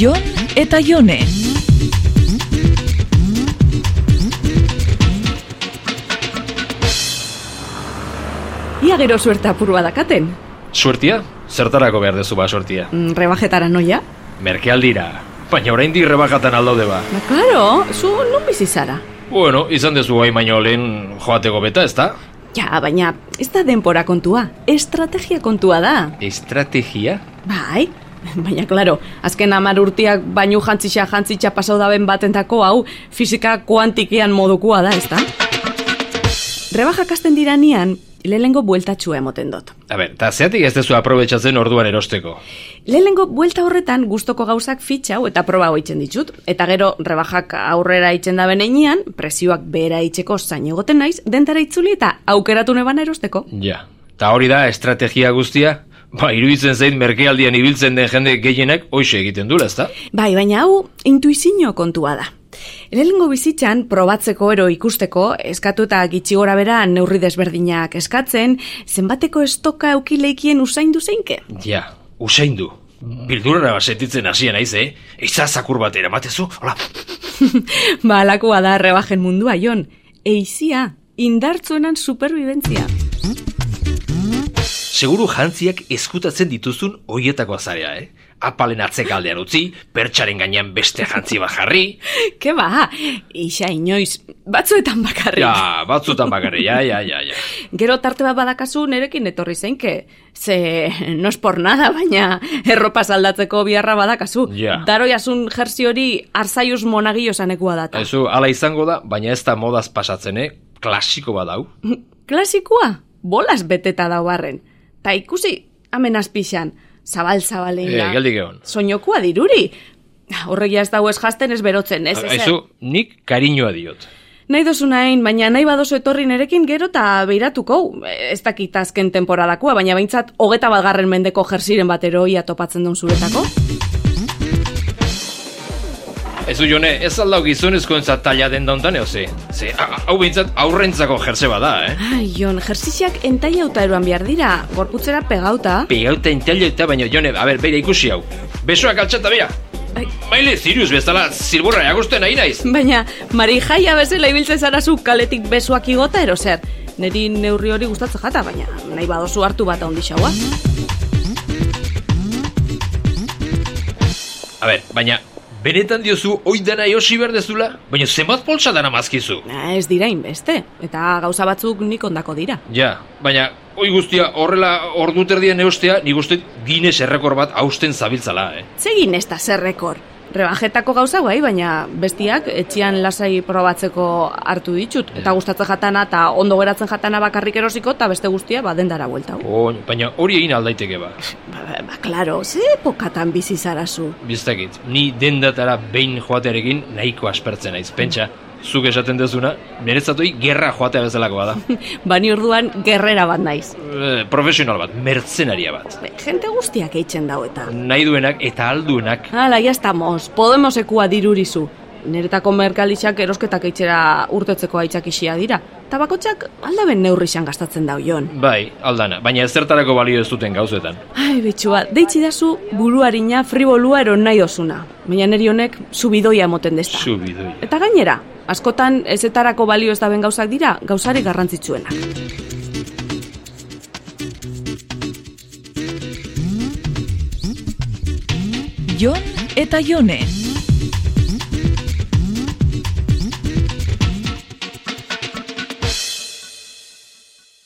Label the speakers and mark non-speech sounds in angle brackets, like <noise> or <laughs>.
Speaker 1: Jon eta Jone.
Speaker 2: Ia gero suerte apurua dakaten.
Speaker 3: Suertia? Zertarako behar dezu ba suertia?
Speaker 2: Mm, Rebajetara noia?
Speaker 3: Merkealdira. Baina oraindik rebajatan aldaude ba.
Speaker 2: Ba, klaro, zu non bizi zara?
Speaker 3: Bueno, izan dezu gai baino lehen joateko beta, ezta?
Speaker 2: Ja, baina ez da denpora kontua, estrategia kontua da.
Speaker 3: Estrategia?
Speaker 2: Bai, <laughs> baina klaro, azken amar urtiak bainu jantzitsa jantzitsa pasau daben batentako hau fisika kuantikian modukua da, ez da? Rebajak hasten dira nian, lehenengo bueltatxua emoten dut.
Speaker 3: A ber, eta zeatik ez dezu aprobetsatzen orduan erosteko.
Speaker 2: Lehenengo buelta horretan gustoko gauzak fitxau eta proba hoitzen ditut, eta gero rebajak aurrera itzen da benean, presioak behera itzeko zain egoten naiz, dentara itzuli eta aukeratu nebana erosteko.
Speaker 3: Ja. Ta hori da estrategia guztia? Ba, iruditzen zein merkealdian ibiltzen den jende gehienek hoxe egiten dula, ezta?
Speaker 2: Bai, baina hau intuizio kontua da. Lehenengo bizitzan probatzeko ero ikusteko, eskatu eta gitxi gora bera neurri desberdinak eskatzen, zenbateko estoka eukileikien usaindu zeinke.
Speaker 3: Ja, usaindu. Bildurara basetitzen hasia naiz, eh? Eiza zakur bat eramatezu, hola,
Speaker 2: ba, alakoa da rebajen mundua, Jon. Eizia, indartzuenan superviventzia.
Speaker 3: Seguru jantziak ezkutatzen dituzun hoietako azarea, eh? Apalen atzekaldean utzi, pertsaren gainean beste jantzi bat jarri.
Speaker 2: <laughs> Ke ba, isa inoiz, batzuetan bakarrik.
Speaker 3: Ja, batzutan bakarri, ja, ja, ja, ja.
Speaker 2: Gero tarte bat badakazu nerekin etorri zeinke. Ze, no es por nada, baina erropa saldatzeko biharra badakazu.
Speaker 3: Ja.
Speaker 2: Daroiasun jersi hori arzaius monagiosanekua data.
Speaker 3: Aizu, ala izango da, baina ez da modaz pasatzen, eh? Klasiko badau.
Speaker 2: Klasikoa, bolas beteta da barren. Ta ikusi, hemen azpixan, zabal-zabalein
Speaker 3: Eh,
Speaker 2: da.
Speaker 3: geldik egon.
Speaker 2: Soinokua diruri. Horregia ez dago ez jasten ez berotzen, ez? ez, ez.
Speaker 3: Aizu, nik kariñoa diot.
Speaker 2: Nahi dozu nahin, baina nahi badozu etorri nerekin gero eta beiratuko. Ez dakit azken temporadakoa, baina behintzat hogeta batgarren mendeko jersiren batero ia topatzen duen zuretako.
Speaker 3: Aizu, jone, ez aldau gizonezkoentzat taila den dauntan, eo ze? Ze, a- hau behintzat aurrentzako jerse bada, eh?
Speaker 2: Ai, Jon, jersiziak entaila eroan behar dira, gorputzera pegauta.
Speaker 3: Pegauta intelio eta baino, jone, a ber, beira ikusi hau. Besoak altxata, bera.
Speaker 2: Ai.
Speaker 3: Maile ziruz bezala zilburra jagusten nahi naiz.
Speaker 2: Baina, Mari Jaia bezala ibiltzen zara zu kaletik besoak igota eroser. Neri neurri hori gustatzen jata, baina nahi badozu hartu bat handi xaua.
Speaker 3: A ber, baina, benetan diozu hoi dana eosi behar dezula, baina zenbat poltsa dana mazkizu.
Speaker 2: Na, Ah, Ez dira inbeste, eta gauza batzuk nik ondako dira.
Speaker 3: Ja, baina, hoi guztia horrela ordu terdien eostea, nik uste Guinness errekor bat hausten zabiltzala, eh?
Speaker 2: Zegin ez da zer rekor. Rebajetako gauza bai, baina bestiak etxean lasai probatzeko hartu ditut. Eta gustatzen jatana eta ondo geratzen jatana bakarrik erosiko eta beste guztia ba dendara buelta.
Speaker 3: Oin, baina hori egin aldaiteke ba.
Speaker 2: Ba, ba, ba, klaro, ze epokatan bizi zarazu. <laughs>
Speaker 3: Biztakit, ni dendatara behin joatearekin nahiko aspertzen naiz, pentsa. Zuk esaten dezuna, niretzatoi gerra joatea bezalakoa da. <laughs>
Speaker 2: Bani orduan gerrera bat naiz.
Speaker 3: e, profesional bat, mertzenaria bat.
Speaker 2: Be, Jente guztiak eitzen dau eta.
Speaker 3: Nahi duenak eta alduenak
Speaker 2: Hala, ya estamos. Podemosekua dirurizu. Neretako merkalitxak erosketak eitzera urtetzeko aitzakisia dira. Eta bakotxak aldaben neurrixan gastatzen da oion.
Speaker 3: Bai, aldana, baina ezertarako balio ez duten gauzetan.
Speaker 2: Ai, betxua, deitzi dazu buruarina fribolua eron nahi dozuna. Baina neri honek subidoia emoten desta.
Speaker 3: Subidoi.
Speaker 2: Eta gainera, askotan ezetarako balio ez daben gauzak dira, gauzari garrantzitsuenak.
Speaker 1: Jon eta Jone.